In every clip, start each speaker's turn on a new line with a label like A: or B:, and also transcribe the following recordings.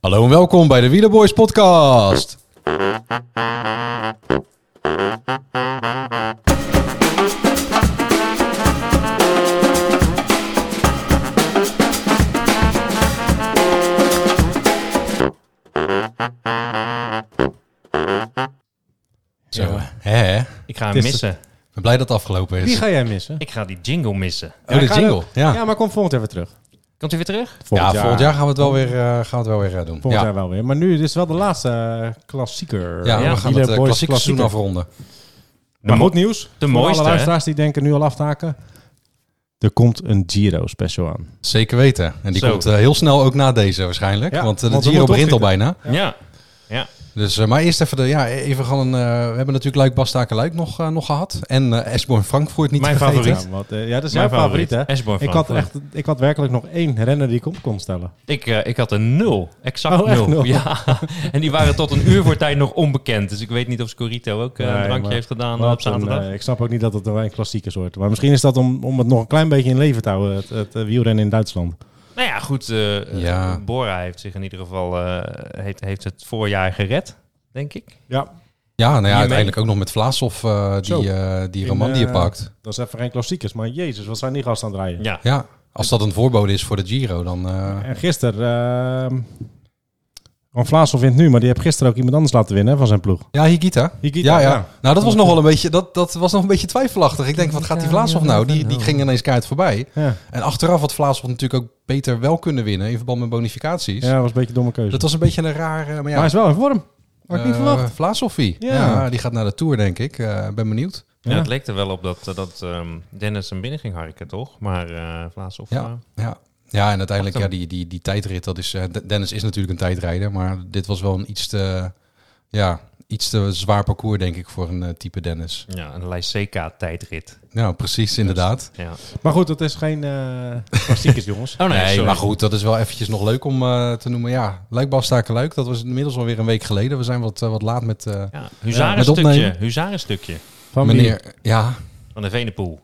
A: Hallo en welkom bij de Wielerboys podcast. Zo,
B: Ja.
A: hè, hè. Ik
B: Ik ga hem
C: Het is
B: missen.
A: ben blij dat het afgelopen is.
C: Die ga jij missen.
B: Ik ga die jingle missen.
A: Oh, de
C: Hij gaat
A: jingle,
C: ook.
A: ja.
C: Ja, maar kom volgend jaar weer terug.
B: Komt u weer terug?
A: ja, volgend jaar gaan we het wel weer, eh, gaan we het wel weer eh, doen.
C: Volgend
A: ja.
C: jaar wel weer. Maar nu is het wel de laatste eh, klassieker.
A: Ja,
B: Ja,
A: we gaan
C: Wieler
A: het eh,
C: Boys
A: klassieke seizoen afronden.
C: Maar
B: mo-
C: goed nieuws.
B: de
C: voor
B: mooiste,
C: alle
B: hè?
C: luisteraars die denken nu al aftaken. Er komt een Giro special aan.
A: Zeker weten. En die
B: Zo.
A: komt eh, heel snel ook na deze waarschijnlijk.
C: Ja,
A: want eh, de
C: want we
A: Giro
C: moeten
A: begint al bijna.
B: Ja. ja.
A: Dus, eh, maar eerst even, de, ja, even gaan een, eh, we hebben natuurlijk Luik Bastaken Luik nog, eh, nog gehad. En eh Esborn Frankfurt niet
B: Mijn
A: vergeten.
B: favoriet.
C: Ja, want, eh, ja dat is
B: Mijn
C: jouw favoriet,
B: favoriet.
C: hè?
B: Ashbourne
C: Ik had,
B: Frankfurt.
C: echt, ik had werkelijk nog één renner die ik op kon stellen.
B: Ik, eh, ik had een nul. Exact
C: Oh, echt
B: nul.
C: nul?
B: Ja. en die waren tot een uur voor tijd nog onbekend. Dus ik weet niet of Scorito ook eh, een
C: Nee,
B: drankje
C: maar-
B: heeft gedaan eh,
C: Wat
B: op
C: een,
B: zaterdag.
C: eh, ik snap ook niet dat het een klassieker soort. Maar misschien is dat om, om het nog een klein beetje in leven te houden. Het, het eh, wielrennen in Duitsland.
B: Nou ja, goed. eh,
A: Ja.
B: eh, Bora heeft zich in ieder geval eh, heeft, heeft het voorjaar gered, denk ik.
C: Ja,
A: Ja, nou ja,
B: Hiermee.
A: uiteindelijk ook nog met Vlaasov eh,
C: Zo.
A: die, eh die
C: In,
A: Romandie
C: eh,
A: pakt.
C: dat is even geen klassiekers. Maar jezus, wat zijn die gasten aan het rijden?
B: Ja.
A: Ja, als dat een voorbode is voor de Giro, dan... eh,
C: En gisteren, ehm Van Vlaasel wint nu, maar die heeft gisteren ook iemand anders laten winnen hè, van zijn ploeg.
A: ja, Higita.
C: Higita,
A: ja, ja.
C: ja.
A: Nou, dat was nog wel een beetje, dat, dat was nog een beetje twijfelachtig. Ik denk, wat gaat die Vlaasov nou? Die, die ging ineens kaart voorbij.
C: Ja,
A: En achteraf had Vlaasov natuurlijk ook beter wel kunnen winnen in verband met bonificaties.
C: ja dat was een beetje een domme keuze.
A: Dat was een beetje een raar... eh, maar
C: Maar hij
A: ja,
C: is wel in vorm. Had ik niet
A: eh,
C: verwacht.
A: Vlaasovie. Ja.
C: Ja.
A: die gaat naar de Tour, denk ik. Eh, ben benieuwd.
B: Ja,
C: Ja.
B: Het leek er wel op dat, eh, dat ehm, Dennis hem binnen ging harken, toch? Maar eh Vlaas of...
A: Ja. Ja. Ja, en uiteindelijk, ja, die, die, die tijdrit, dat is... eh, D- Dennis is natuurlijk een tijdrijder, maar dit was wel een iets te... Ja, iets te zwaar parcours, denk ik, voor een eh, type Dennis.
B: ja, een Lyseca-tijdrit.
A: Nou, precies, inderdaad.
B: Ja.
C: Maar goed, dat is geen eh, klassiekers, jongens.
B: Oh nee,
A: Nee,
B: sorry.
A: maar goed, dat is wel eventjes nog leuk om eh, te noemen. Ja, Luikbastaken Luik, dat was inmiddels alweer een week geleden. We zijn wat, eh, wat laat met eh,
B: Ja,
A: met
B: huzarenstukje.
A: opnemen.
B: Huzarenstukje
C: Van wie?
A: meneer, ja,
B: van de Venepoel.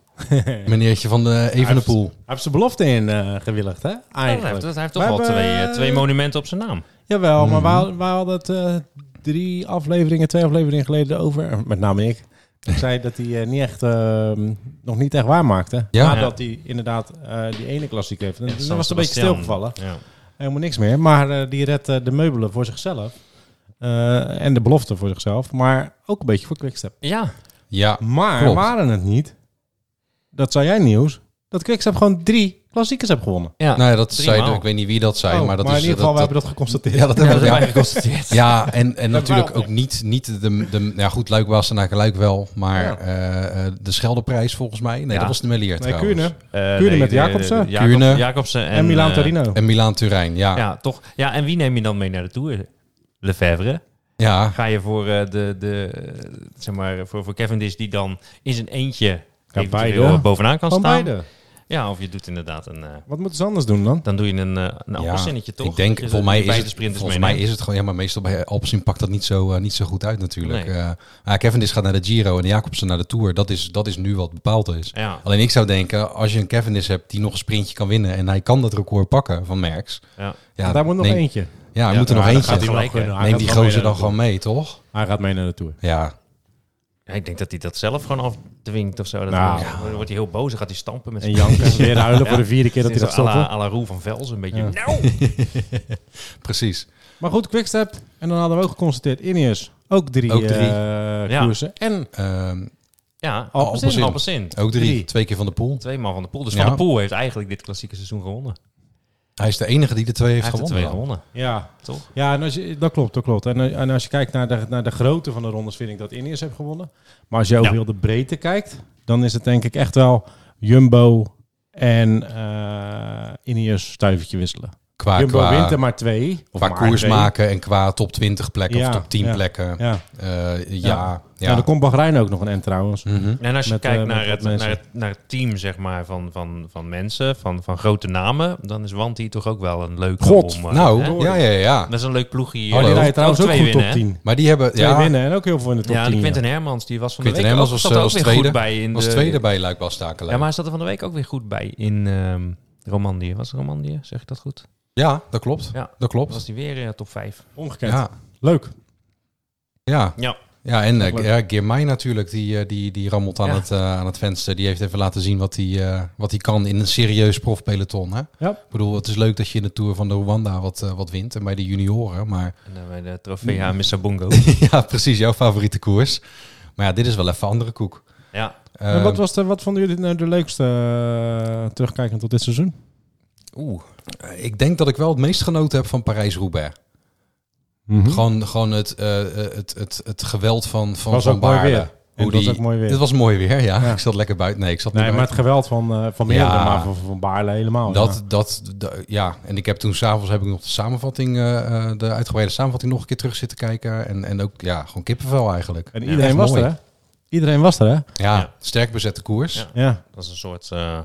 A: meneertje van de Evenepoel.
C: Hij heeft zijn belofte in eh, gewilligd, hè?
B: Dat
C: Eigenlijk.
B: heeft, dat heeft toch
C: We
B: wel
C: hebben-
B: twee, eh, twee monumenten op zijn naam.
C: Jawel, maar waar, waar hadden het eh, drie afleveringen, twee afleveringen geleden over? Met name ik. Ik zei dat hij eh, niet echt, eh, nog niet echt waar maakte.
A: Ja.
C: Ja. Nadat hij inderdaad eh, die ene klassiek heeft. En
B: Ja,
C: dan
B: San
C: was het een beetje
B: Sebastian.
C: stilgevallen.
B: Ja.
C: helemaal niks meer. Maar eh, die redt eh, de meubelen voor zichzelf. Eh, en de belofte voor zichzelf. Maar ook een beetje voor Quickstep.
B: ja,
A: Ja,
C: Maar
A: Klopt.
C: waren het niet, dat zei jij nieuws, dat Quickstep gewoon drie klassiekers heeft gewonnen.
B: ja.
A: nou ja, dat
B: drie
A: zei,
B: maal.
A: ik weet niet wie dat zei,
C: Oh,
A: maar dat is... eh,
C: in ieder geval,
A: dat-
C: we hebben dat geconstateerd.
A: ja, dat hebben we
B: dat
A: ja.
B: hebben wij geconstateerd.
A: Ja, en, en natuurlijk
C: wel.
A: ook niet, niet de, de... Ja goed, Luik was daarna gelijk wel, maar
C: Ja.
A: eh, eh, de Scheldeprijs volgens mij. Nee,
B: Ja.
A: dat was de Melier
C: nee,
A: trouwens.
C: Kuurne.
B: Eh,
C: Kuurne
B: nee,
C: met
B: de-
C: Jacobsen.
B: de- Jacob-
A: Kuurne.
B: Jacobsen en,
C: En Milan
B: eh,
C: Torino.
A: En Milaan Turijn, ja. ja.
B: ja, toch. Ja, en wie neem je dan mee naar de Tour? Lefebvre. Ga je voor, eh, de, de, eh, zeg maar, voor, voor Cavendish die dan in zijn eentje
C: Ja,
B: eventueel
C: beide.
B: bovenaan kan
C: Van
B: staan?
C: beide.
B: Ja, of je doet inderdaad een... eh,
C: Wat moeten ze anders doen dan?
B: dan doe je een, eh een
A: Ja,
B: appelsinnetje, toch?
A: Ik denk,
B: Dat je
A: volgens mij,
B: beide
A: is het,
B: sprinters
A: volgens mij
B: meeneemt.
A: is het gewoon... Ja, maar meestal bij Alpecin pakt dat niet zo, eh, niet zo goed uit natuurlijk.
B: Nee.
A: Eh maar Cavendish gaat naar de Giro en Jacobsen naar de Tour. Dat is, dat is nu wat bepaald is.
B: Ja,
A: Alleen ik zou denken, als je een Cavendish hebt die nog een sprintje kan winnen... en hij kan dat record pakken van Merckx...
B: ja.
A: Ja,
C: daar moet nog
A: neem-
C: eentje.
A: Ja, er
B: Ja,
A: moet er nog
B: dan
A: eentje.
B: gaat hij
A: Neem
B: gelijk,
C: winnen.
B: eh,
C: Hij gaat
A: die
C: wel mee
A: gozer
C: naar
A: dan
C: de
A: gewoon mee, toch?
C: Tour. Hij gaat mee naar de Tour.
A: Ja,
B: Ja, Ik denk dat hij dat zelf gewoon afdwingt of zo. Dat
C: Nou.
B: wordt- dan wordt hij heel boos, dan gaat hij stampen met
C: En
B: zijn
C: Janken. En weer huilen voor de
B: Ja.
C: vierde keer dat hij dat
B: à la,
C: stopt.
B: à la Roel van Velzen een beetje.
C: Ja.
B: Nou!
A: precies.
C: Maar goed, Quickstep. En dan hadden we ook geconstateerd, Ineos. Ook drie,
A: Ook drie.
C: eh,
B: Ja.
C: koersen. En
A: Ehm,
B: Ja,
A: Alpecin.
B: Alpecin. Alpecin.
A: ook drie.
C: Drie.
A: Twee keer van de pool.
B: Twee man van de pool. Dus
A: Ja.
B: van de pool heeft eigenlijk dit klassieke seizoen gewonnen.
A: Hij is de enige die de twee heeft
B: Hij heeft er
A: gewonnen.
B: twee
A: dan.
B: gewonnen,
C: ja,
B: toch?
C: Ja, en als je, dat klopt, dat klopt. En, eh, en als je kijkt naar de, naar de grootte van de rondes, vind ik dat Ineos heeft gewonnen. Maar als je over
B: Ja.
C: heel de breedte kijkt, dan is het denk ik echt wel Jumbo en eh Ineos stuivertje wisselen.
A: Qua,
C: Jumbo
A: Ah, qua,
C: wint er maar twee. Of
A: qua
C: maar
A: koers
C: twee.
A: maken en qua top 20 plekken
C: Ja,
A: of top 10
C: ja.
A: plekken.
C: Ja.
A: Eh, ja, ja.
C: Ja. Nou, dan komt Bahrein ook nog een end trouwens.
A: Mhm.
B: En als je
C: Met,
B: kijkt
C: eh, met
B: naar,
C: wat
B: het,
C: mensen.
B: naar, het, naar het team zeg maar, van, van, van mensen, van, van grote namen, dan is Wanty toch ook wel een leuk
C: God,
B: om... eh, hè?
A: Nou, ja, ja, ja.
B: Dat is een leuk ploegje. hier.
A: Oh, die
C: Die
A: Hallo.
C: rijdt trouwens ook,
B: twee
C: goed
B: winnen,
C: top
B: hè?
C: 10.
A: Maar die hebben...
C: Twee
A: ja,
C: winnen en ook heel veel in de top
B: Ja,
C: 10.
B: die
C: ja.
B: Quinten Hermans, die was van de
A: Quinten
B: week
A: Hermans
B: ook,
A: was,
B: zat
A: eh,
B: er ook
A: als
B: weer
A: tweede.
B: goed bij. In
A: was
B: de,
A: tweede bij Luik Bastaken.
B: Ja, maar hij zat er van de week ook weer goed bij in ehm Romandie. Was het Romandie? Zeg ik dat goed?
A: Ja, dat klopt.
B: Ja.
A: Dat
B: Dan
A: klopt.
B: was hij weer eh, top 5.
C: Ongekend.
A: Ja,
C: Leuk.
A: ja.
B: Ja.
A: ja en
C: Leuk.
A: eh ja, Girmay natuurlijk, die, eh, die, die rammelt aan,
B: Ja.
A: het, eh, aan het venster. Die heeft even laten zien wat hij eh, wat hij kan in een serieus profpeloton. Hè?
C: Ja.
A: Ik bedoel, het is leuk dat je in de Tour van de Rwanda wat, eh, wat wint en bij de junioren. Maar
B: En dan bij de trofee eh, aan Missabongo.
A: ja, precies, jouw favoriete koers. Maar ja, dit is wel even andere koek.
B: ja.
C: en
A: Eh,
C: wat, was de, wat vonden jullie nou de leukste eh, terugkijkend tot dit seizoen?
A: Ehm, Oeh, ik denk dat ik wel het meest genoten heb van Parijs-Roubaix.
C: Hm?
A: Gewoon, gewoon het, eh, het, het, het geweld van, van,
C: was
A: van
C: ook mooi
A: Baarle.
C: weer. En
A: Hoe
C: het was
A: die-
C: ook mooi weer.
A: Het was mooi weer, ja.
C: Ja.
A: Ik zat lekker buiten. Nee, ik zat
C: Nee,
A: niet
C: maar het geweld van, eh, van meerdere,
A: Ja.
C: maar van, van Baarle helemaal.
A: Dat,
C: Oh, ja.
A: dat, d- ja, en ik heb toen s'avonds heb ik nog de samenvatting, eh, eh, de uitgebreide samenvatting nog een keer terug zitten kijken. En, en ook, ja, gewoon kippenvel eigenlijk.
C: En
B: Ja,
C: iedereen
A: echt
C: was
A: mooi.
C: er, hè? Iedereen was er, hè?
A: Ja,
B: Ja.
A: sterk bezette koers.
B: Ja.
C: Ja.
B: Dat is een soort... eh,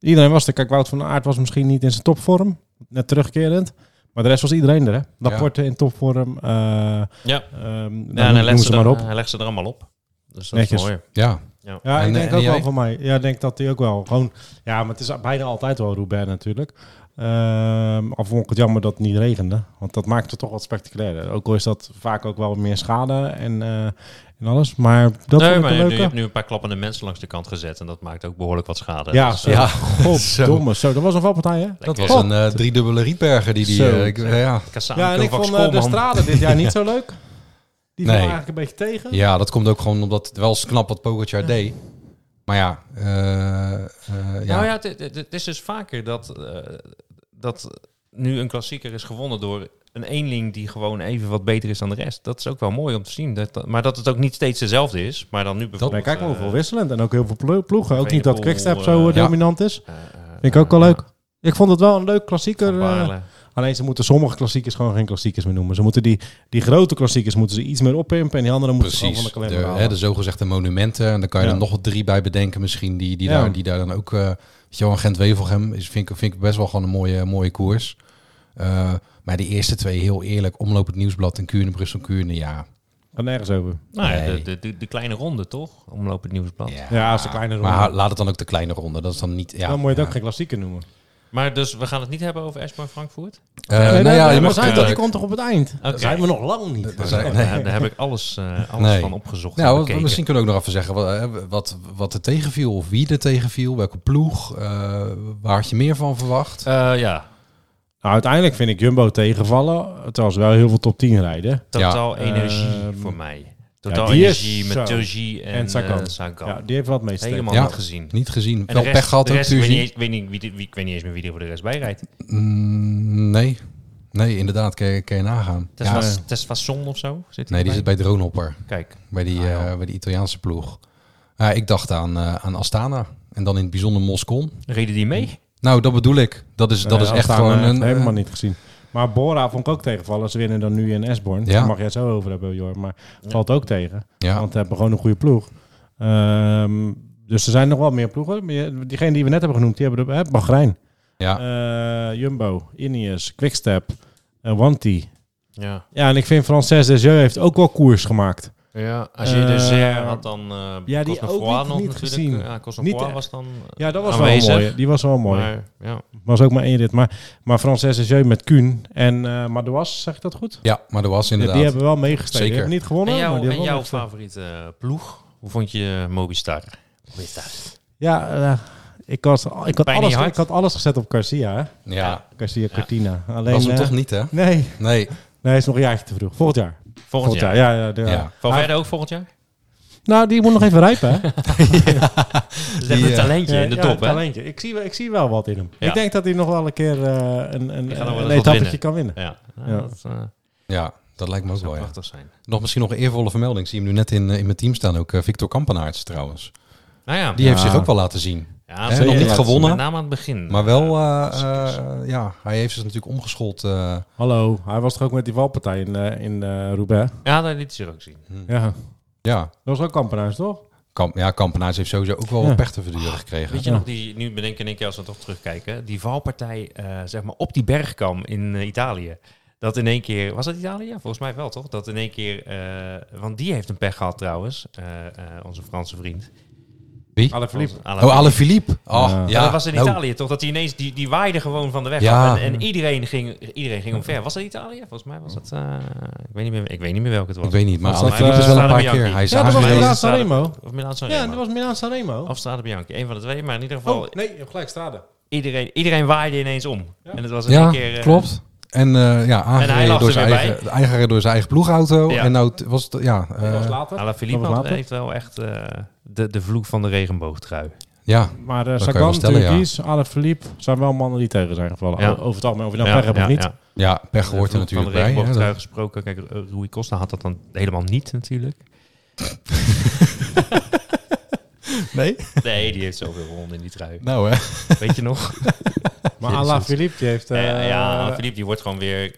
C: Iedereen was er. Kijk, Wout van Aert was misschien niet in zijn topvorm. Net terugkerend. Maar de rest was iedereen er, hè? Laporte in topvorm. eh
B: ja.
C: ehm,
B: Ja, en eh,
C: nou,
B: hij
C: noem
B: legt,
C: ze
B: ze
C: maar
B: er,
C: op.
B: hij legt ze er allemaal op. Dus dat
C: Netjes.
B: is mooi.
A: Ja.
C: Ja,
A: En,
C: ik denk
A: eh, en
C: ook wel
A: jij?
C: van mij. Ja, ik denk dat hij ook wel. Gewoon, ja, maar het is bijna altijd wel Roubaix natuurlijk. Ehm al vond ik het jammer dat het niet regende. Want dat maakt het toch wat spectaculairder. Ook al is dat vaak ook wel meer schade en, eh, en alles. Maar dat
B: nee,
C: vond
B: maar
C: ik
B: je,
C: een
B: hebt nu- je hebt
C: leuke.
B: nu een paar klappende mensen langs de kant gezet. En dat maakt ook behoorlijk wat schade.
C: Ja,
B: Dus,
C: zo.
B: eh,
A: Ja.
C: goddomme. Zo, dat was een valpartij, hè?
A: Dat was
B: lekker.
A: een eh, driedubbele Rietberger die die...
C: Zo.
A: eh, ik- ja.
B: Kassaan,
C: Ja, en ik
B: Kovacs,
C: vond eh, de
B: Koolman.
C: straden dit jaar niet zo leuk.
A: Nee.
C: Die viel eigenlijk een beetje tegen.
A: ja, dat komt ook gewoon omdat het wel eens knap wat Pogacar deed. Maar ja, eh, eh, ja.
B: Nou ja, het- het het is dus vaker dat, eh, dat nu een klassieker is gewonnen door een eenling die gewoon even wat beter is dan de rest. Dat is ook wel mooi om te zien. Dat, dat- maar dat het ook niet steeds dezelfde is. Maar dan nu
C: Nee,
B: bijvoorbeeld...
C: kijk maar
B: eh,
C: hoeveel wisselend. En ook heel veel plo- ploegen. Ook niet dat
B: Venepoel,
C: Quickstep zo eh,
A: ja.
C: dominant is.
B: eh, eh,
C: Vind ik ook wel
B: eh,
C: leuk. Ik vond het wel een leuk klassieker.
B: Van
C: eh,
B: Baarle.
C: Alleen ze moeten sommige klassiekers gewoon geen klassiekers meer noemen. Ze moeten die, die grote klassiekers moeten ze iets meer oppimpen en die andere moeten ze gewoon
A: Precies,
C: van de
A: de,
C: kalender halen.
A: hè, dus- de zogezegde monumenten. En dan kan je
C: Ja.
A: er nog wat drie bij bedenken misschien. Die, die,
C: Ja.
A: daar, die daar dan ook... eh Johan Gent-Wevelgem is, vind, ik, vind ik best wel gewoon een mooie, mooie koers. Eh, maar die eerste twee, heel eerlijk. Omloop het Nieuwsblad en Kuurne, Brussel-Kuurne, ja.
C: Kan nergens over.
B: Nou ja,
A: Nee.
B: de, de, de, de kleine ronde, toch? Omloop het nieuwsblad.
C: Ja, als de kleine ronde.
A: Maar ha- laat het dan ook de kleine ronde. Dat is dan niet... Ja,
C: Dan moet je het
A: ja.
C: ook geen klassieker noemen.
B: Maar dus, we gaan het niet hebben over Espoir Frankfurt?
A: Eh, nou ja, je mag
B: zijn
C: zijn
B: dat-
C: dat
A: natuurlijk...
C: die komt toch op het eind.
B: Oké.
C: Dat zijn we nog lang niet.
A: Dat zijn-
B: Ja, daar heb ik alles, eh, alles
A: Nee.
B: van opgezocht. en
A: Nou, wat-
B: bekeken.
A: misschien kunnen we ook nog even zeggen wat, eh, wat, wat er tegenviel of wie er tegenviel, welke ploeg, eh, waar had je meer van verwacht?
B: Eh, ja,
C: Nou, uiteindelijk vind ik Jumbo tegenvallen, terwijl ze wel heel veel top 10 rijden.
B: totaal
C: Ja.
B: energie
C: Ehm,
B: voor mij. Totaal
C: die is
B: energie
C: zo.
B: met Turgie en,
C: En
B: en
C: Sagan.
B: Sagan.
C: Ja, die heeft wel het meeste.
B: Helemaal
A: Ja.
B: niet gezien.
A: Niet gezien.
B: En
A: Wel
B: de rest,
A: pech gehad
B: de
A: ook,
B: rest, ik, weet
A: Tuurlijk.
B: niet, eens- ik weet niet, wie, dit- wie- ik weet niet eens meer wie er voor de rest bij rijdt.
A: Mm, nee. Nee, inderdaad, kan je, kan je nagaan.
B: Tess
A: Ja.
B: was- Tess Fasson of zo? Zit hij
A: Nee, die
B: erbij?
A: zit bij Dronehopper,
B: Kijk,
A: bij die,
B: Ah, ja.
A: eh, bij die Italiaanse ploeg. Ja, ik dacht aan, eh, aan Astana en dan in het bijzonder Moscon.
B: reden die mee?
A: Nou, dat bedoel ik. Dat is, Dus dat
C: Nee,
A: is echt
C: Astana
A: gewoon
C: heeft
A: een...
C: helemaal
A: eh,
C: niet gezien. Maar Bora vond ik ook tegenvallen. Ze winnen dan nu in Esborn.
A: Ja.
C: Daar mag jij het zo over hebben, Jor. Maar valt ook tegen.
A: ja.
C: Want we hebben gewoon een goede ploeg. Ehm, dus er zijn nog wel meer ploegen. Maar je- Diegene die we net hebben genoemd, die hebben er, hè, Bahrein,
A: Ja.
C: eh, Jumbo, Ineos, Quickstep, eh Wanty.
B: Ja.
C: Ja, en ik vind Frances Desjeux heeft ook wel koers gemaakt.
B: ja. Als je de
C: Eh,
B: Zer had dan eh
C: ja, die
B: Cosmopoir
C: ook niet-
B: nog
C: niet
B: natuurlijk. eh,
C: gezien.
B: Ja,
C: Niet
B: Cosmopoir
C: echt.
B: was dan
C: Ja, dat was
B: Aanwezig.
C: wel mooi. Die was wel mooi.
B: Maar, ja.
C: Was ook maar één rit. Maar, maar Frances Desjeux met Kuhn en eh Madouas, zeg ik dat goed?
A: ja, maar er was
C: Ja,
A: inderdaad...
C: die hebben wel meegestreden.
A: Zeker.
C: Die hebben niet
B: En
C: gewonnen. maar
B: jouw,
C: die
B: en
C: hebben wel
B: jouw favoriete eh, ploeg? Hoe vond je eh, Mobistar? Mobistar.
C: meegestreden. Ja, eh, ik, had, ik, had
B: Bijna
C: alles,
B: niet hard.
C: ik had alles gezet op Garcia. Hè?
A: ja,
C: Garcia Cortina. Alleen,
A: was hem
C: eh,
A: toch niet, hè?
C: Nee,
A: Nee,
C: nee, hij is nog een jaartje te vroeg. Volgend jaar.
B: Volgend jaar.
C: Ja, ja, ja.
A: ja.
B: Van
C: Ah.
B: verder ook volgend jaar?
C: Nou, die moet nog even rijpen. Hè?
B: Dat is
A: Die,
B: echt een
A: eh,
B: talentje in de
C: Ja,
B: top, hè?
C: talentje. Ik zie, wel- ik zie wel wat in hem.
B: Ja.
C: Ik denk dat hij nog wel een keer eh, een,
B: nog wel
C: een,
B: eens
C: een
B: wat
C: etappetje
B: winnen.
C: kan winnen.
B: Ja, ja,
C: Ja.
B: dat eh,
A: ja, dat lijkt me ook
B: zou
A: wel, ja.
B: prachtig zijn.
A: Nog misschien nog een eervolle vermelding. Ik zie hem nu net in, eh, in mijn team staan ook. eh, Victor Kampenaerts trouwens.
B: Nou ja,
A: Die
C: Ja.
A: heeft zich ook wel laten zien. Hè,
B: ja
A: nog
B: zeker.
A: niet
C: laten zien.
B: Met
A: gewonnen,
B: name aan het begin.
A: maar wel...
B: Ja,
A: eh,
B: dat is- dat is-
A: eh, ja, hij heeft zich natuurlijk omgeschoold... eh,
C: Hallo, hij was toch ook met die valpartij in, eh, in eh, Roubaix?
B: ja, dat liet ze er ook zien.
C: Ja.
A: ja,
C: Dat was ook Kampenaars, toch?
A: Kamp, ja, Kampenaars heeft sowieso ook wel
C: Ja.
A: wat pech te verduren gekregen.
B: Weet je
C: Ja.
B: nog, die, nu bedenk ik in één keer als we toch terugkijken, die valpartij eh, zeg maar op die bergkam in eh, Italië. Dat in één keer, was dat Italië? Ja, volgens mij wel toch? Dat in één keer, eh, want die heeft een pech gehad trouwens, eh, eh, onze Franse vriend.
A: Wie?
C: Alaphilippe.
A: Oh, Alaphilippe. Oh,
C: Ja.
A: ja.
B: Ja, dat was in
A: Nou,
B: Italië toch? Dat hij ineens, die, die waaide gewoon van de weg
A: Ja.
B: af. En, en iedereen, ging, iedereen ging omver. Was dat Italië? Volgens mij was dat... eh, ik, weet niet meer, ik weet niet meer welke het was.
A: Ik weet niet, maar
C: Was dat,
A: Alaphilippe is wel een
B: eh,
A: paar keer.
B: Bianchi?
A: Hij is
C: Ja, dat was
A: aangereden.
C: inderdaad Sanremo.
B: Of Milaan Sanremo.
C: Ja, dat was Milaan Sanremo.
B: Of Strade Bianchi. Een van de twee. Maar in ieder geval,
C: Oh, nee, je hebt gelijk, Strade.
B: iedereen, iedereen waaide ineens om.
C: Ja.
B: En het was in
A: Ja,
B: één keer... eh,
A: klopt. En eh, ja,
B: lag
A: aangereden
B: er
A: door zijn
B: weer
A: eigen, aangereden door zijn eigen ploegauto.
B: Ja.
A: En nou t- was het, ja, eh,
C: Dat was later.
B: Alaphilippe
C: Dat was
B: had-
C: later.
B: heeft wel echt eh, de, de vloek van de regenboogtrui.
A: ja,
C: Maar eh
A: kan je
C: Sagan,
A: wel stellen, ja.
C: Turkies, Alaphilippe zijn wel mannen die tegen zijn gevallen.
B: Ja.
C: O- Over het algemeen, of je nou pech hebt of niet.
B: ja.
A: ja, pech hoort er
B: De vloek
A: natuurlijk
B: van de
A: bij. hè.
B: regenboogtrui
A: Dat-
B: gesproken. Kijk, eh, Rui Costa had dat dan helemaal niet natuurlijk.
A: Nee?
B: Nee, die heeft zoveel ronden in die trui.
A: Nou hè.
B: Weet je nog?
C: Maar
B: Ja,
C: Alaphilippe die heeft... eh,
B: Eh, ja, Philippe die wordt gewoon weer...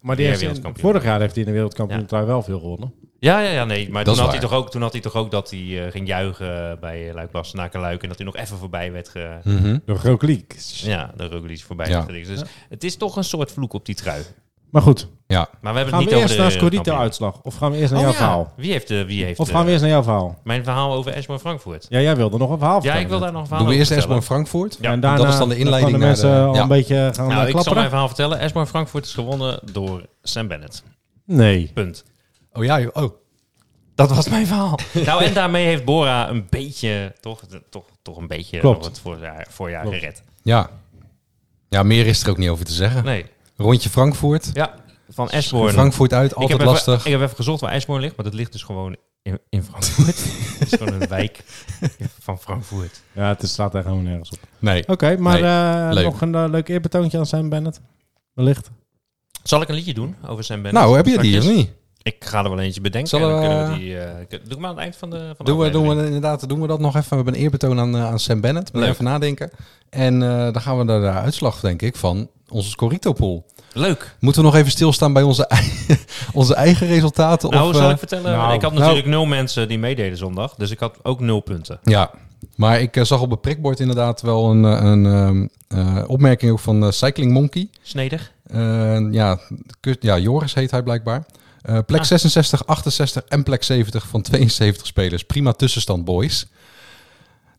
C: maar die
B: weer
C: heeft in-
B: wereldkampioen.
C: vorig jaar heeft hij in de
B: Ja.
C: wereldkampioen trui wel veel gewonnen.
B: Ja, ja, ja, nee.
A: Dat
B: Maar toen
A: is
B: had, hij
A: waar.
B: toch ook, toen had hij toch ook dat hij eh, ging juichen bij Luik Bastenaken Luik. En dat hij nog even voorbij werd ge...
A: Mhm.
C: De Roglic.
B: Ja, de Roglic voorbij
A: Ja.
B: werd gedikt. Dus
C: Ja.
B: het is toch een soort vloek op die trui.
C: Maar goed,
A: Ja,
B: Maar we hebben
C: gaan
B: het
C: we
B: niet
C: eerst
B: over
C: naar
B: de Oh
C: Scorito-uitslag? Of gaan we
A: Oh,
C: eerst naar jouw verhaal?
B: Wie heeft... de wie heeft
C: Of gaan we
B: eh,
C: eerst naar jouw verhaal?
B: Mijn verhaal over Esbjorn Frankfurt.
C: Ja, jij wilde nog een verhaal
B: Ja,
C: vertellen.
B: ik wil daar nog een verhaal
A: doen we
B: over
A: eerst
B: vertellen.
A: Esbjorn Frankfurt?
B: Ja,
C: en daarna
A: dat is dan de inleiding
C: gaan de
A: naar de-
C: mensen al
A: ja.
C: een beetje gaan
B: Nou,
C: eh,
B: ik zal
C: klapperen.
B: mijn verhaal vertellen. Esbjorn Frankfurt is gewonnen door Sam Bennett.
C: Nee.
B: Punt.
A: Oh ja, joh. oh.
B: Dat was mijn verhaal. nou, en daarmee heeft Bora een beetje, toch, toch, toch een beetje
C: Klopt.
B: nog het voorjaar, voorjaar
C: Klopt.
B: gered.
A: Ja. ja, meer is er ook niet over te zeggen.
B: Nee,
A: Rondje Frankfurt.
B: ja, van Esbjorn.
A: Frankfurt uit,
B: ik,
A: altijd
B: heb
A: lastig.
B: Even, ik heb even gezocht waar Esbjorn ligt, maar dat ligt dus gewoon in, in Frankfurt. Het is gewoon een wijk van Frankfurt.
C: Ja, het is- staat daar gewoon nergens op.
A: nee.
B: Oh,
C: Oké, maar eh,
A: leuk. Eh,
C: nog een eh, leuk eerbetoontje aan Sam Bennett? Wellicht.
B: Zal ik een liedje doen over Sam Bennett?
A: Nou, heb je die of
B: Straks?
A: niet?
B: Ik ga er wel eentje bedenken.
A: Zullen we-
B: en dan kunnen we die, eh, doe ik maar aan het eind van de van de
A: Doen we, doen
B: aflevering.
A: we, inderdaad, doen we dat nog even. We hebben een eerbetoon aan, eh, aan Sam Bennett. We
B: Leuk.
A: even nadenken. En eh, dan gaan we naar de uitslag, denk ik, van onze Scorito-pool.
B: Leuk.
A: Moeten we nog even stilstaan bij onze, ei- onze eigen resultaten?
B: Nou,
A: of,
B: zal
A: eh,
B: ik vertellen?
C: nou,
B: ik had
A: nou.
B: natuurlijk nul mensen die meededen zondag, dus ik had ook nul punten.
A: Ja, maar ik eh, zag op het prikbord inderdaad wel een, eh, een ehm, eh, opmerking ook van eh, Cycling Monkey.
B: Snedig.
A: Eh, ja, Kurt- ja, Joris heet hij blijkbaar. Eh, plek
B: Ah.
A: 66, 68 en plek 70 van 72 spelers. Prima tussenstand, boys.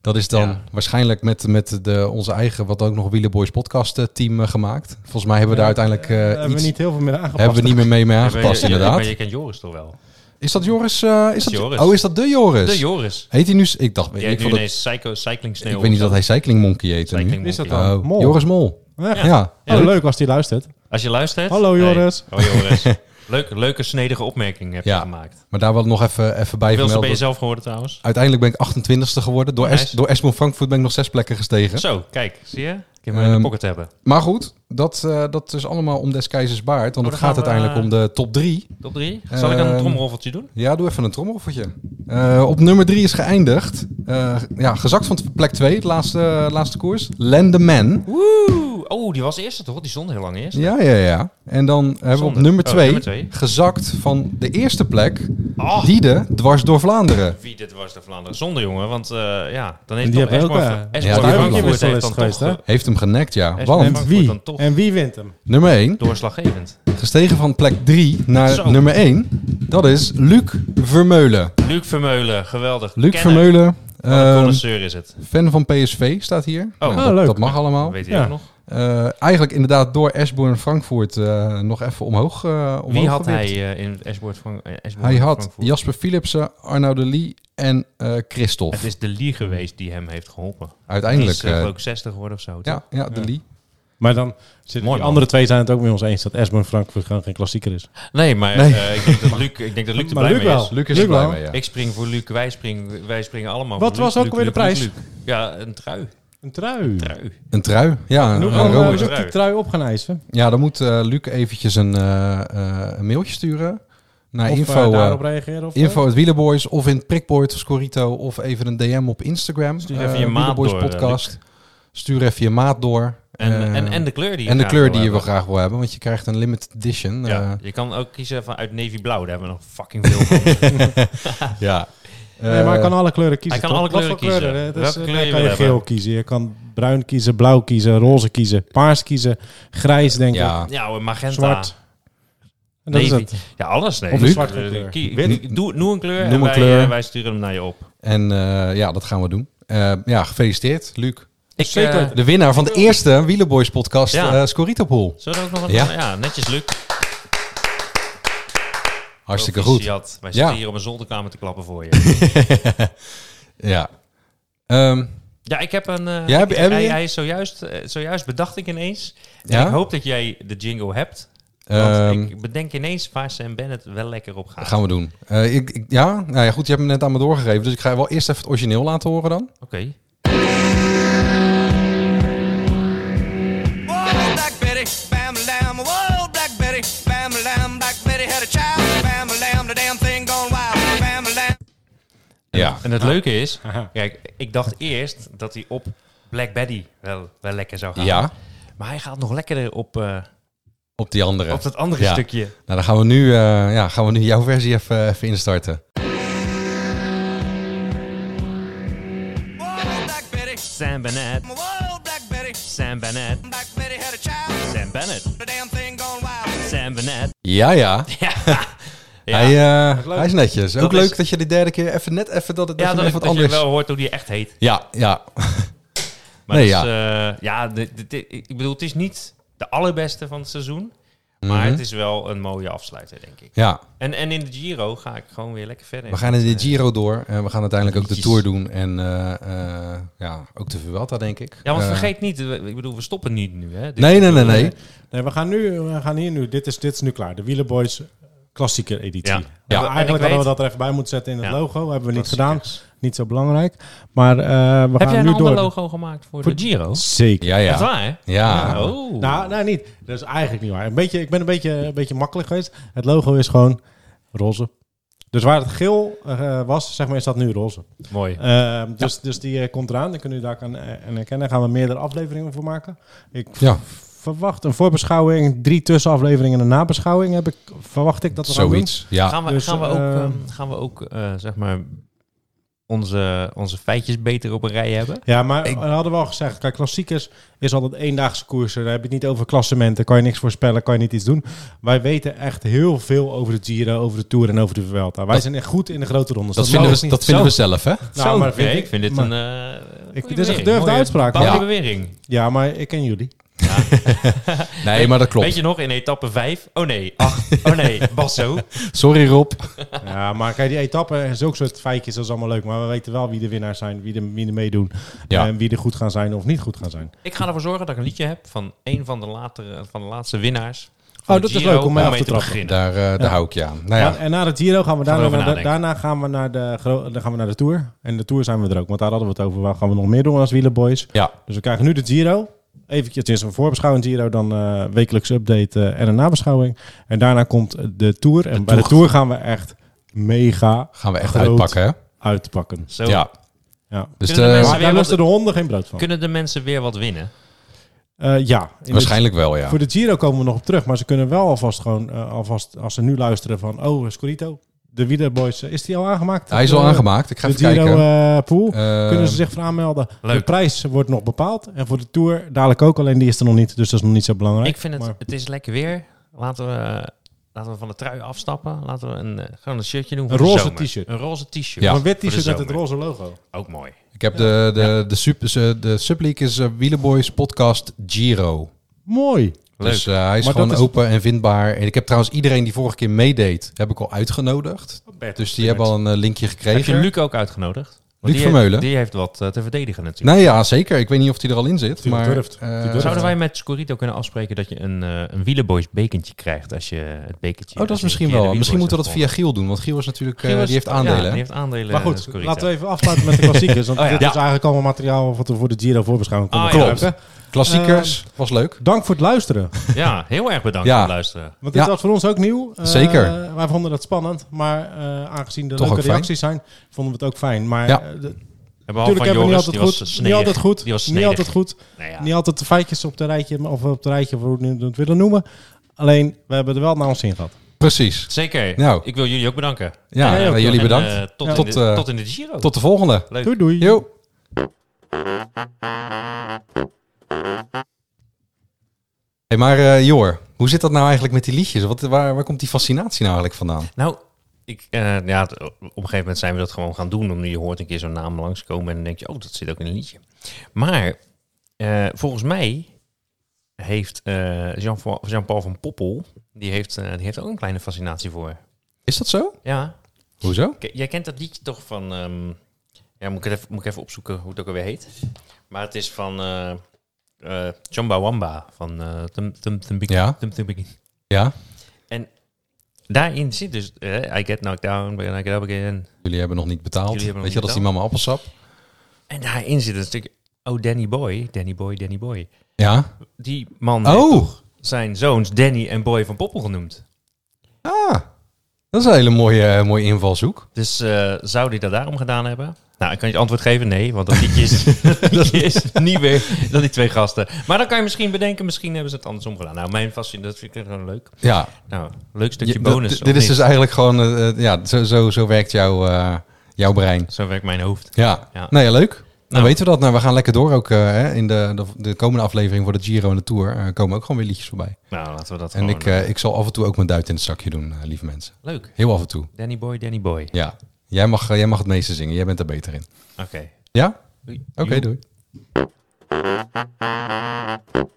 A: Dat is dan
B: Ja.
A: waarschijnlijk met, met de, onze eigen, wat ook nog Wielenboys podcast eh, team eh, gemaakt. Volgens mij hebben we daar uiteindelijk eh,
C: hebben
A: iets,
C: we niet heel veel meer aangepast.
A: hebben we niet meer mee, mee
B: Maar
A: aangepast,
B: je- je-
A: inderdaad.
B: Maar je kent Joris toch wel?
A: Is dat Joris? eh, is dat
B: Joris.
A: Oh, is dat de Joris?
B: De Joris.
A: Heet hij nu? Ik dacht,
B: Jij
A: ik,
B: hebt nu
A: vond het,
B: ineens psycho, cycling sneeuw.
A: ik weet niet dat hij Cycling Monkey heet.
B: Cycling
A: nu.
B: Monkey.
C: Is dat dan?
A: Oh,
C: Mol.
A: Joris Mol.
C: Echt?
A: Ja.
C: Oh, leuk als die luistert.
B: Als je luistert.
C: Hallo,
B: Hey.
C: Joris.
B: Oh, Joris. Leuk, leuke snedige opmerking heb je
A: Ja.
B: gemaakt.
A: maar daar wil ik nog even, even bij
B: Hoeveelste ben je
A: vermelden.
B: zelf geworden trouwens?
A: Uiteindelijk ben ik 28ste geworden. Door,
B: Nice.
A: Es- door Esmond Frankfurt ben ik nog zes plekken gestegen.
B: Zo, kijk, zie je? Ik heb hem in de
A: Ehm,
B: pocket hebben.
A: Maar goed, dat, eh, dat is allemaal om des keizers baard. Want
B: Oh,
A: het
B: dan
A: gaat
B: gaan we-
A: uiteindelijk om de top drie.
B: Top 3. Zal ik een
A: ehm,
B: tromroffeltje doen?
A: Ja, doe even een trommelfotje. Eh, op nummer drie is geëindigd. Eh, ja, gezakt van plek twee, het laatste, laatste koers. Lendeman.
B: Woe! Oh, die was eerste toch? Die stond heel lang eerst.
A: Ja, ja, ja. En dan hebben we op
B: Zonde.
A: nummer
B: Oh,
A: twee,
B: nummer twee.
A: gezakt van de eerste plek,
B: Ah.
A: Diede, dwars door Vlaanderen.
B: Wie dit was de Vlaanderen. Zonde, jongen. Want eh, ja, dan
C: En
B: heeft
C: die
B: toch
C: hebben ook,
B: Esbjorn...
C: eh,
B: Esbjorn
A: Ja, die hebben
B: Frankfurt
A: ook
B: heeft
C: wisselist
B: dan
C: geweest,
B: toch,
C: hè?
B: eh,
A: Heeft hem genekt, ja.
B: Esbjorn
A: Want
C: En
B: Frankfurt
C: wie?
B: dan toch.
C: En wie wint hem?
A: nummer 1,
B: eh, Doorslaggevend.
A: gestegen van plek 3 naar
B: Zo.
A: nummer 1, dat is Luc Vermeulen.
B: Luc Vermeulen, geweldig.
A: Luc
B: Kenner.
A: Vermeulen,
B: Wat een
A: ehm,
B: connoisseur is het.
A: fan van PSV, staat hier. Nou,
B: dus- Oh,
A: dat,
C: Ah, leuk.
A: dat mag allemaal.
B: weet je
C: ja.
B: ook nog.
A: Eh, eigenlijk inderdaad door Ashbourne Frankfurt eh, nog even omhoog. eh omhoog
B: Wie had
A: gewipt.
B: hij eh, in Esbjorn van eh, Esbjorn
A: Hij had
B: Frankfurt?
A: Jasper Philipsen, Arnaud de Lee en eh Christophe.
B: Het is de Lee geweest die hem heeft geholpen.
A: Uiteindelijk.
B: Die is eh,
A: eh,
B: ook 60 geworden of zo. toch?
A: ja, ja, de
C: Ja.
A: Lee.
C: Maar dan zitten
B: Mooi,
C: die
B: man.
C: andere twee zijn het ook met ons eens dat Esbjorn Frankfurt gewoon geen klassieker is.
B: Nee, maar
A: Nee.
B: eh, ik denk dat Luc, ik denk dat Luc er
C: Maar
B: blij
C: Luc
B: mee
C: wel.
B: is.
A: Luc is
C: Luc
A: er blij
C: wel.
A: mee, ja.
B: Ik spring voor Luc, wij, spring, wij springen allemaal
C: Wat
B: voor Luc,
C: was ook
B: Luc,
C: alweer de
B: Luc, Luc,
C: prijs?
B: Luc. Ja, een trui.
C: Een trui.
B: trui.
A: Een trui. Ja,
C: Noem
A: een
C: maar
A: rode
C: hoe
B: Robert.
C: is die trui op gaan eisen.
A: Ja, dan moet eh, Luc eventjes een, eh, eh, een mailtje sturen naar
C: of eh,
A: info, eh,
C: daarop reageren. Of,
A: info at Wielerboys of in het prikboard of Scorito of even een DM op Instagram.
B: Stuur
A: eh,
B: even je maat
A: Wielerboys
B: door, eh,
A: podcast. Stuur even je maat door.
B: En,
A: Eh,
B: en, en de kleur die je
A: en de
B: graag
A: kleur
B: wil
A: die je eh. wel
B: hebben.
A: graag wil hebben, want je krijgt een limited edition.
B: Ja, je kan ook kiezen van uit navy blauw. Daar hebben we nog fucking veel van.
A: eh, ja.
C: eh, nee, maar hij kan alle kleuren kiezen.
B: hij kan
C: toch?
B: alle
C: Wat
B: kleuren
C: voor
B: kiezen.
C: hè? Dat
B: Welke
C: is, eh,
B: kleur je
C: kan
B: wil
C: je geel
B: hebben.
C: kiezen, je kan bruin kiezen, blauw kiezen, roze kiezen, paars kiezen, grijs denk ik.
A: ja.
B: Ja, hoor, magenta.
C: Zwart. En dat is
B: Navy.
C: het.
B: Ja, alles. Nee.
A: Of
B: Dus
A: Luc.
B: zwart,
C: Zwarte kleur.
B: kie-
A: Wit.
B: doe, noem een kleur
A: Noem
B: en
A: een
B: wij,
A: kleur.
B: eh, wij sturen hem naar je op.
A: En eh, ja, dat gaan we doen. Eh, ja, gefeliciteerd, Luc.
B: Ik,
C: Zeker.
B: eh,
A: De winnaar van de eerste Wielerboys podcast, eh
B: Ja.
A: Scorito Pool.
B: zullen we ook nog wat?
A: Ja.
B: Ja, netjes Luc.
A: Hartstikke goed.
B: Proficiat. Wij
A: Ja.
B: zitten hier op een zolderkamer te klappen voor je.
A: Ja. Ehm,
B: ja, ik heb een. eh,
A: Ja, heb-
B: ik-
A: heb je?
B: hij, hij is zojuist, eh, zojuist bedacht ik ineens. En
A: Ja?
B: Ik hoop dat jij de jingle hebt. Want
A: ehm,
B: ik bedenk ineens waar Sam Bennett wel lekker op gaat.
A: gaan we doen. Eh, ik, ik- ja? Nou ja, goed, je hebt hem net aan me doorgegeven. Dus ik ga wel eerst even het origineel laten horen dan.
B: Oké.
D: Whoa, Black Betty, bam a lamb. Whoa, Black Betty, bam a lamb. Black Betty had a child. Bam a lamb, the damn thing gone wild. Bam a lamb.
A: Ja.
B: En het
C: Ah.
B: leuke is, kijk, ik dacht eerst dat hij op Black Betty wel, wel lekker zou gaan.
A: Ja,
B: Maar hij gaat nog lekkerder op, eh,
A: op die andere.
B: op dat andere
A: Ja.
B: stukje.
A: Nou, dan gaan we nu, eh, ja, gaan we nu jouw versie even, even instarten.
D: Whoa, Black Betty.
B: Sam Bennett,
D: Whoa, Black Betty.
B: Sam Bennett,
D: Black Betty had a child.
B: Sam Bennett,
D: The damn thing gone wild.
B: Sam Bennett.
A: Ja, ja.
B: Ja, ja.
A: Hij, eh, hij is netjes. Ook
B: Dat is-
A: leuk dat je de derde keer even net even dat het
B: ja
A: even,
B: dat,
A: even
B: dat
A: wat
B: je
A: anders.
B: wel hoort hoe die echt heet.
A: Ja, ja.
B: Maar
A: Nee,
B: dus, ja, ja dit- dit- dit- ik bedoel, het is niet de allerbeste van het seizoen. Maar
A: Mhm.
B: het is wel een mooie afsluiter, denk ik.
A: ja.
B: En, en in de Giro ga ik gewoon weer lekker verder. Eh,
A: We gaan in de Giro door en we gaan uiteindelijk ook de
B: Liedjes.
A: Tour doen en eh, eh, ja, ook de Vuelta denk ik.
B: Ja, want
A: Eh,
B: vergeet niet, we- ik bedoel, we stoppen niet nu. Hè? Dit-
A: Nee, nee, nee, nee.
C: Nee, we gaan, nu, we gaan hier nu. Dit is, dit is nu klaar. De Wielerboys klassieker editie.
B: Ja.
C: En
A: Ja.
C: we-
B: En ik
C: Eigenlijk hadden
B: weet-
C: we dat er even bij moeten zetten in het
B: Ja.
C: logo. Hebben we niet gedaan.
B: Klassiekers.
C: Niet zo belangrijk. Maar eh, we
B: Heb
C: gaan
B: jij een
C: nu
B: ander
C: door.
B: logo gemaakt voor, de Giro?
C: Zeker.
A: Ja,
B: Echt
A: ja.
B: waar, hè?
A: Ja.
B: Oh.
C: Nou, nou niet. Dat is eigenlijk niet waar. Een beetje, ik ben een beetje, een beetje makkelijk geweest. Het logo is gewoon roze. Dus waar het geel eh, was, zeg maar, is dat nu roze.
B: Mooi.
C: Eh, dus, dus die eh, komt eraan. Dan kunnen jullie daar aan eh, aan herkennen. Daar gaan we meerdere afleveringen voor maken. Ik
A: Ja.
C: verwacht een voorbeschouwing, drie tussenafleveringen en een nabeschouwing. Heb ik, verwacht ik dat we gaan doen.
A: Zoiets. Ja.
B: gaan, we,
C: dus,
B: gaan we ook,
C: ehm,
B: ehm, gaan we ook eh, zeg maar, onze, onze feitjes beter op een rij hebben?
C: Ja, maar we hadden wel gezegd, kijk, klassiekers is altijd eendaagse koersen. Daar heb je het niet over klassementen, kan je niks voorspellen, kan je niet iets doen. Wij weten echt heel veel over de Giro, over de Tour en over de Vuelta. Wij zijn echt goed in de grote rondes.
A: Dat vinden
C: mag
A: we,
C: niet.
A: dat vinden we
C: Zo.
A: zelf, hè?
C: Nou, maar
B: vind
C: vind
B: ik
C: ik-
B: vind dit
C: maar-
B: een. eh, goede
C: dit is een
B: bewering.
C: gedouchte
B: Mooie,
C: uitspraak,
B: bouwde
A: hoor. Ja.
B: bewering.
C: Ja, maar ik ken jullie.
A: Nee, maar dat
B: Weet
A: klopt.
B: je nog, in etappe 5? Oh nee, 8. Oh nee, Basso.
A: Sorry Rob.
C: Ja, maar kijk, die etappen en zulke soort feitjes, dat is allemaal leuk. Maar we weten wel wie de winnaars zijn, wie er wie er meedoen.
A: Ja.
C: En wie er goed gaan zijn of niet goed gaan zijn.
B: Ik ga ervoor zorgen dat ik een liedje heb van een van de, latere, van de laatste winnaars. van
C: Oh,
B: de
C: dat is
B: Giro,
C: leuk om mee af
B: mee
C: te
B: te
C: trappen.
B: beginnen.
A: Daar, eh, daar hou ik je aan. Nou ja.
C: En na de Giro gaan we,
B: Gaan we
C: daarna,
B: over
C: naar de,
B: nadenken.
C: daarna gaan, we naar de, gro- dan gaan we naar de Tour. En de Tour zijn we er ook, want daar hadden we het over. Waar gaan we nog meer doen als wielerboys?
A: Ja.
C: Dus we krijgen nu de Giro. Even, het is een voorbeschouwing Giro, dan eh wekelijkse update eh, en een nabeschouwing. En daarna komt de Tour. En bij de Tour gaan we echt mega
A: Gaan we echt
C: Groot.
A: uitpakken, hè?
C: uitpakken.
B: Zo.
A: Ja.
C: Ja.
A: Dus
B: Kunnen de
A: eh,
B: mensen-
C: Maar daar lusten de honden geen brood van.
B: Kunnen de mensen weer wat winnen?
C: Eh, ja, in de
A: waarschijnlijk wel, ja.
C: Voor de Giro komen we nog op terug, maar ze kunnen wel alvast gewoon, eh, alvast als ze nu luisteren van, oh, Scorito, de Wielerboys, eh, is die al aangemaakt?
A: Hij is al
C: Eh,
A: aangemaakt. Ik ga
C: De
A: even
C: Giro
A: kijken.
C: eh, pool,
A: Eh,
C: kunnen ze zich voor aanmelden.
B: leuk.
C: De prijs wordt nog bepaald en voor de Tour dadelijk ook, alleen die is er nog niet, dus dat is nog niet zo belangrijk.
B: Ik vind het,
C: Maar-
B: het is lekker weer. Laten we, laten we van de trui afstappen. Laten we een, eh, gewoon een shirtje doen.
C: Een
B: voor de
C: roze
B: zomer.
C: t-shirt.
B: Een roze t-shirt.
A: Ja.
C: Een wit
B: Voor de
C: t-shirt met het
B: zomer.
C: roze logo.
B: Ook mooi.
A: Ik heb de, de, de, sub, de subleague is eh, Wielerboys podcast Giro.
C: Mooi.
B: Leuk.
A: Dus eh, hij is
C: Maar
A: gewoon
C: dat is-
A: open en vindbaar. En ik heb trouwens iedereen die vorige keer meedeed, heb ik al uitgenodigd. Dus die hebben al een eh, linkje
B: Heb je
A: gekregen.
B: Luc ook uitgenodigd? Want
A: Luc
B: die
A: Vermeulen.
B: heeft- Die heeft wat eh, te verdedigen natuurlijk.
A: Nou ja, zeker. Ik weet niet of hij er al in zit.
C: Die
A: maar,
C: durft. Die
A: eh,
C: durft.
B: Zouden wij met Scorito kunnen afspreken dat je een, eh een Wielenboys bekentje krijgt als je het bekentje...
A: Oh, dat is misschien wel. Misschien moeten we dat via Giel doen. Want Giel is natuurlijk, eh, die heeft aandelen.
B: Ja,
A: hè?
B: die heeft aandelen.
C: Maar goed,
B: eh, Scorito.
C: laten we even afsluiten met de klassiekers, want
B: Oh ja.
C: dit
B: Ja.
C: is eigenlijk allemaal materiaal wat we voor de Giro voorbeschouwing konden
B: Ah, ja.
C: gebruiken.
A: Klassiekers,
B: Eh,
A: was leuk.
C: Dank voor het luisteren.
B: Ja, heel erg bedankt
A: Ja.
B: voor het luisteren.
C: Want dit
A: Ja.
C: was voor ons ook nieuw. Eh,
A: Zeker.
C: Wij vonden dat spannend, maar eh, aangezien er
A: Toch ook
C: leuke
A: fijn.
C: reacties zijn, vonden we het ook fijn. Maar
A: Ja.
C: eh, de-
B: Behalve
C: natuurlijk
B: van
C: hebben we
B: Joris,
C: niet
B: die
C: altijd,
B: was
C: goed, niet
B: snedig.
C: altijd goed.
B: Die was
C: Niet altijd
B: snedig.
C: goed.
B: Nou ja.
C: Niet altijd de feitjes op de rijtje, of op de rijtje, of hoe we het willen noemen. Alleen, we hebben er wel naar ons zin gehad.
A: Precies.
B: Zeker.
A: Nou.
B: Ik wil jullie ook bedanken.
A: Ja,
C: Ja, ja,
A: eh, jullie
B: En,
A: bedankt.
B: eh, tot,
A: Ja.
B: in
A: Tot,
B: de,
A: eh,
B: tot in de Giro.
A: Tot de volgende.
B: Leuk.
C: Doei doei.
A: Jo. Hey, maar eh, Jor, hoe zit dat nou eigenlijk met die liedjes? Wat, waar, waar komt die fascinatie nou eigenlijk vandaan?
B: Nou, ik, eh, ja, t- op een gegeven moment zijn we dat gewoon gaan doen. Omdat je hoort een keer zo'n naam langskomen en dan denk je, oh, dat zit ook in een liedje. Maar eh, volgens mij heeft eh, Jean-Paul Jean-Paul van Poppel, die heeft, eh, die heeft ook een kleine fascinatie voor.
A: Is dat zo?
B: Ja,
A: Hoezo?
B: K- Jij kent dat liedje toch van... ehm, ja, moet ik, het even, moet ik even opzoeken hoe het ook alweer heet. Maar het is van eh eh Chamba Wamba van eh Tum Tum Tum Bik-
A: Ja.
B: Tum Tum Bik-
A: Ja,
B: Daarin zit dus... eh, I get knocked down, but I get up again.
A: jullie hebben nog niet betaald.
B: Jullie hebben nog
A: Weet je,
B: niet
A: dat is die mama appelsap.
B: En daarin zit een stuk... Oh, Danny Boy. Danny Boy, Danny Boy.
A: Ja.
B: Die man heeft
A: Oh,
B: toch zijn zoons Danny en Boy van Poppel genoemd.
A: ah. Dat is een hele mooie, eh, mooie invalshoek.
B: Dus eh, zou die dat daarom gedaan hebben? Nou, ik kan je het antwoord geven, nee, want dat liedje is, dat liedje is niet meer dan die twee gasten. Maar dan kan je misschien bedenken, misschien hebben ze het andersom gedaan. Nou, mijn fascinatie, dat vind ik gewoon leuk.
A: Ja,
B: Nou, leuk
A: Je-
B: stukje
A: dat-
B: bonus. Oh,
A: dit-
B: of
A: dit is
B: niet?
A: dus eigenlijk gewoon, eh, eh, ja, zo, zo, zo werkt jouw, eh, jouw brein.
B: Zo werkt mijn hoofd.
A: Ja.
B: Ja.
A: Nee, leuk. Dan
B: Nou.
A: weten we dat. Nou, we gaan lekker door ook eh, hè, in de, de, de komende aflevering voor de Giro en de Tour. eh, komen ook gewoon weer liedjes voorbij.
B: Nou, laten we dat
A: En
B: gewoon...
A: ik, eh, ik zal af en toe ook mijn duit in het zakje doen, eh, lieve mensen.
B: leuk.
A: Heel af en toe.
B: Danny Boy, Danny Boy.
A: Ja. Jij mag, eh, jij mag het meeste zingen. Jij bent daar beter in.
B: Oké.
A: Ja?
B: Doei.
A: Oké,
B: Joep.
A: doei.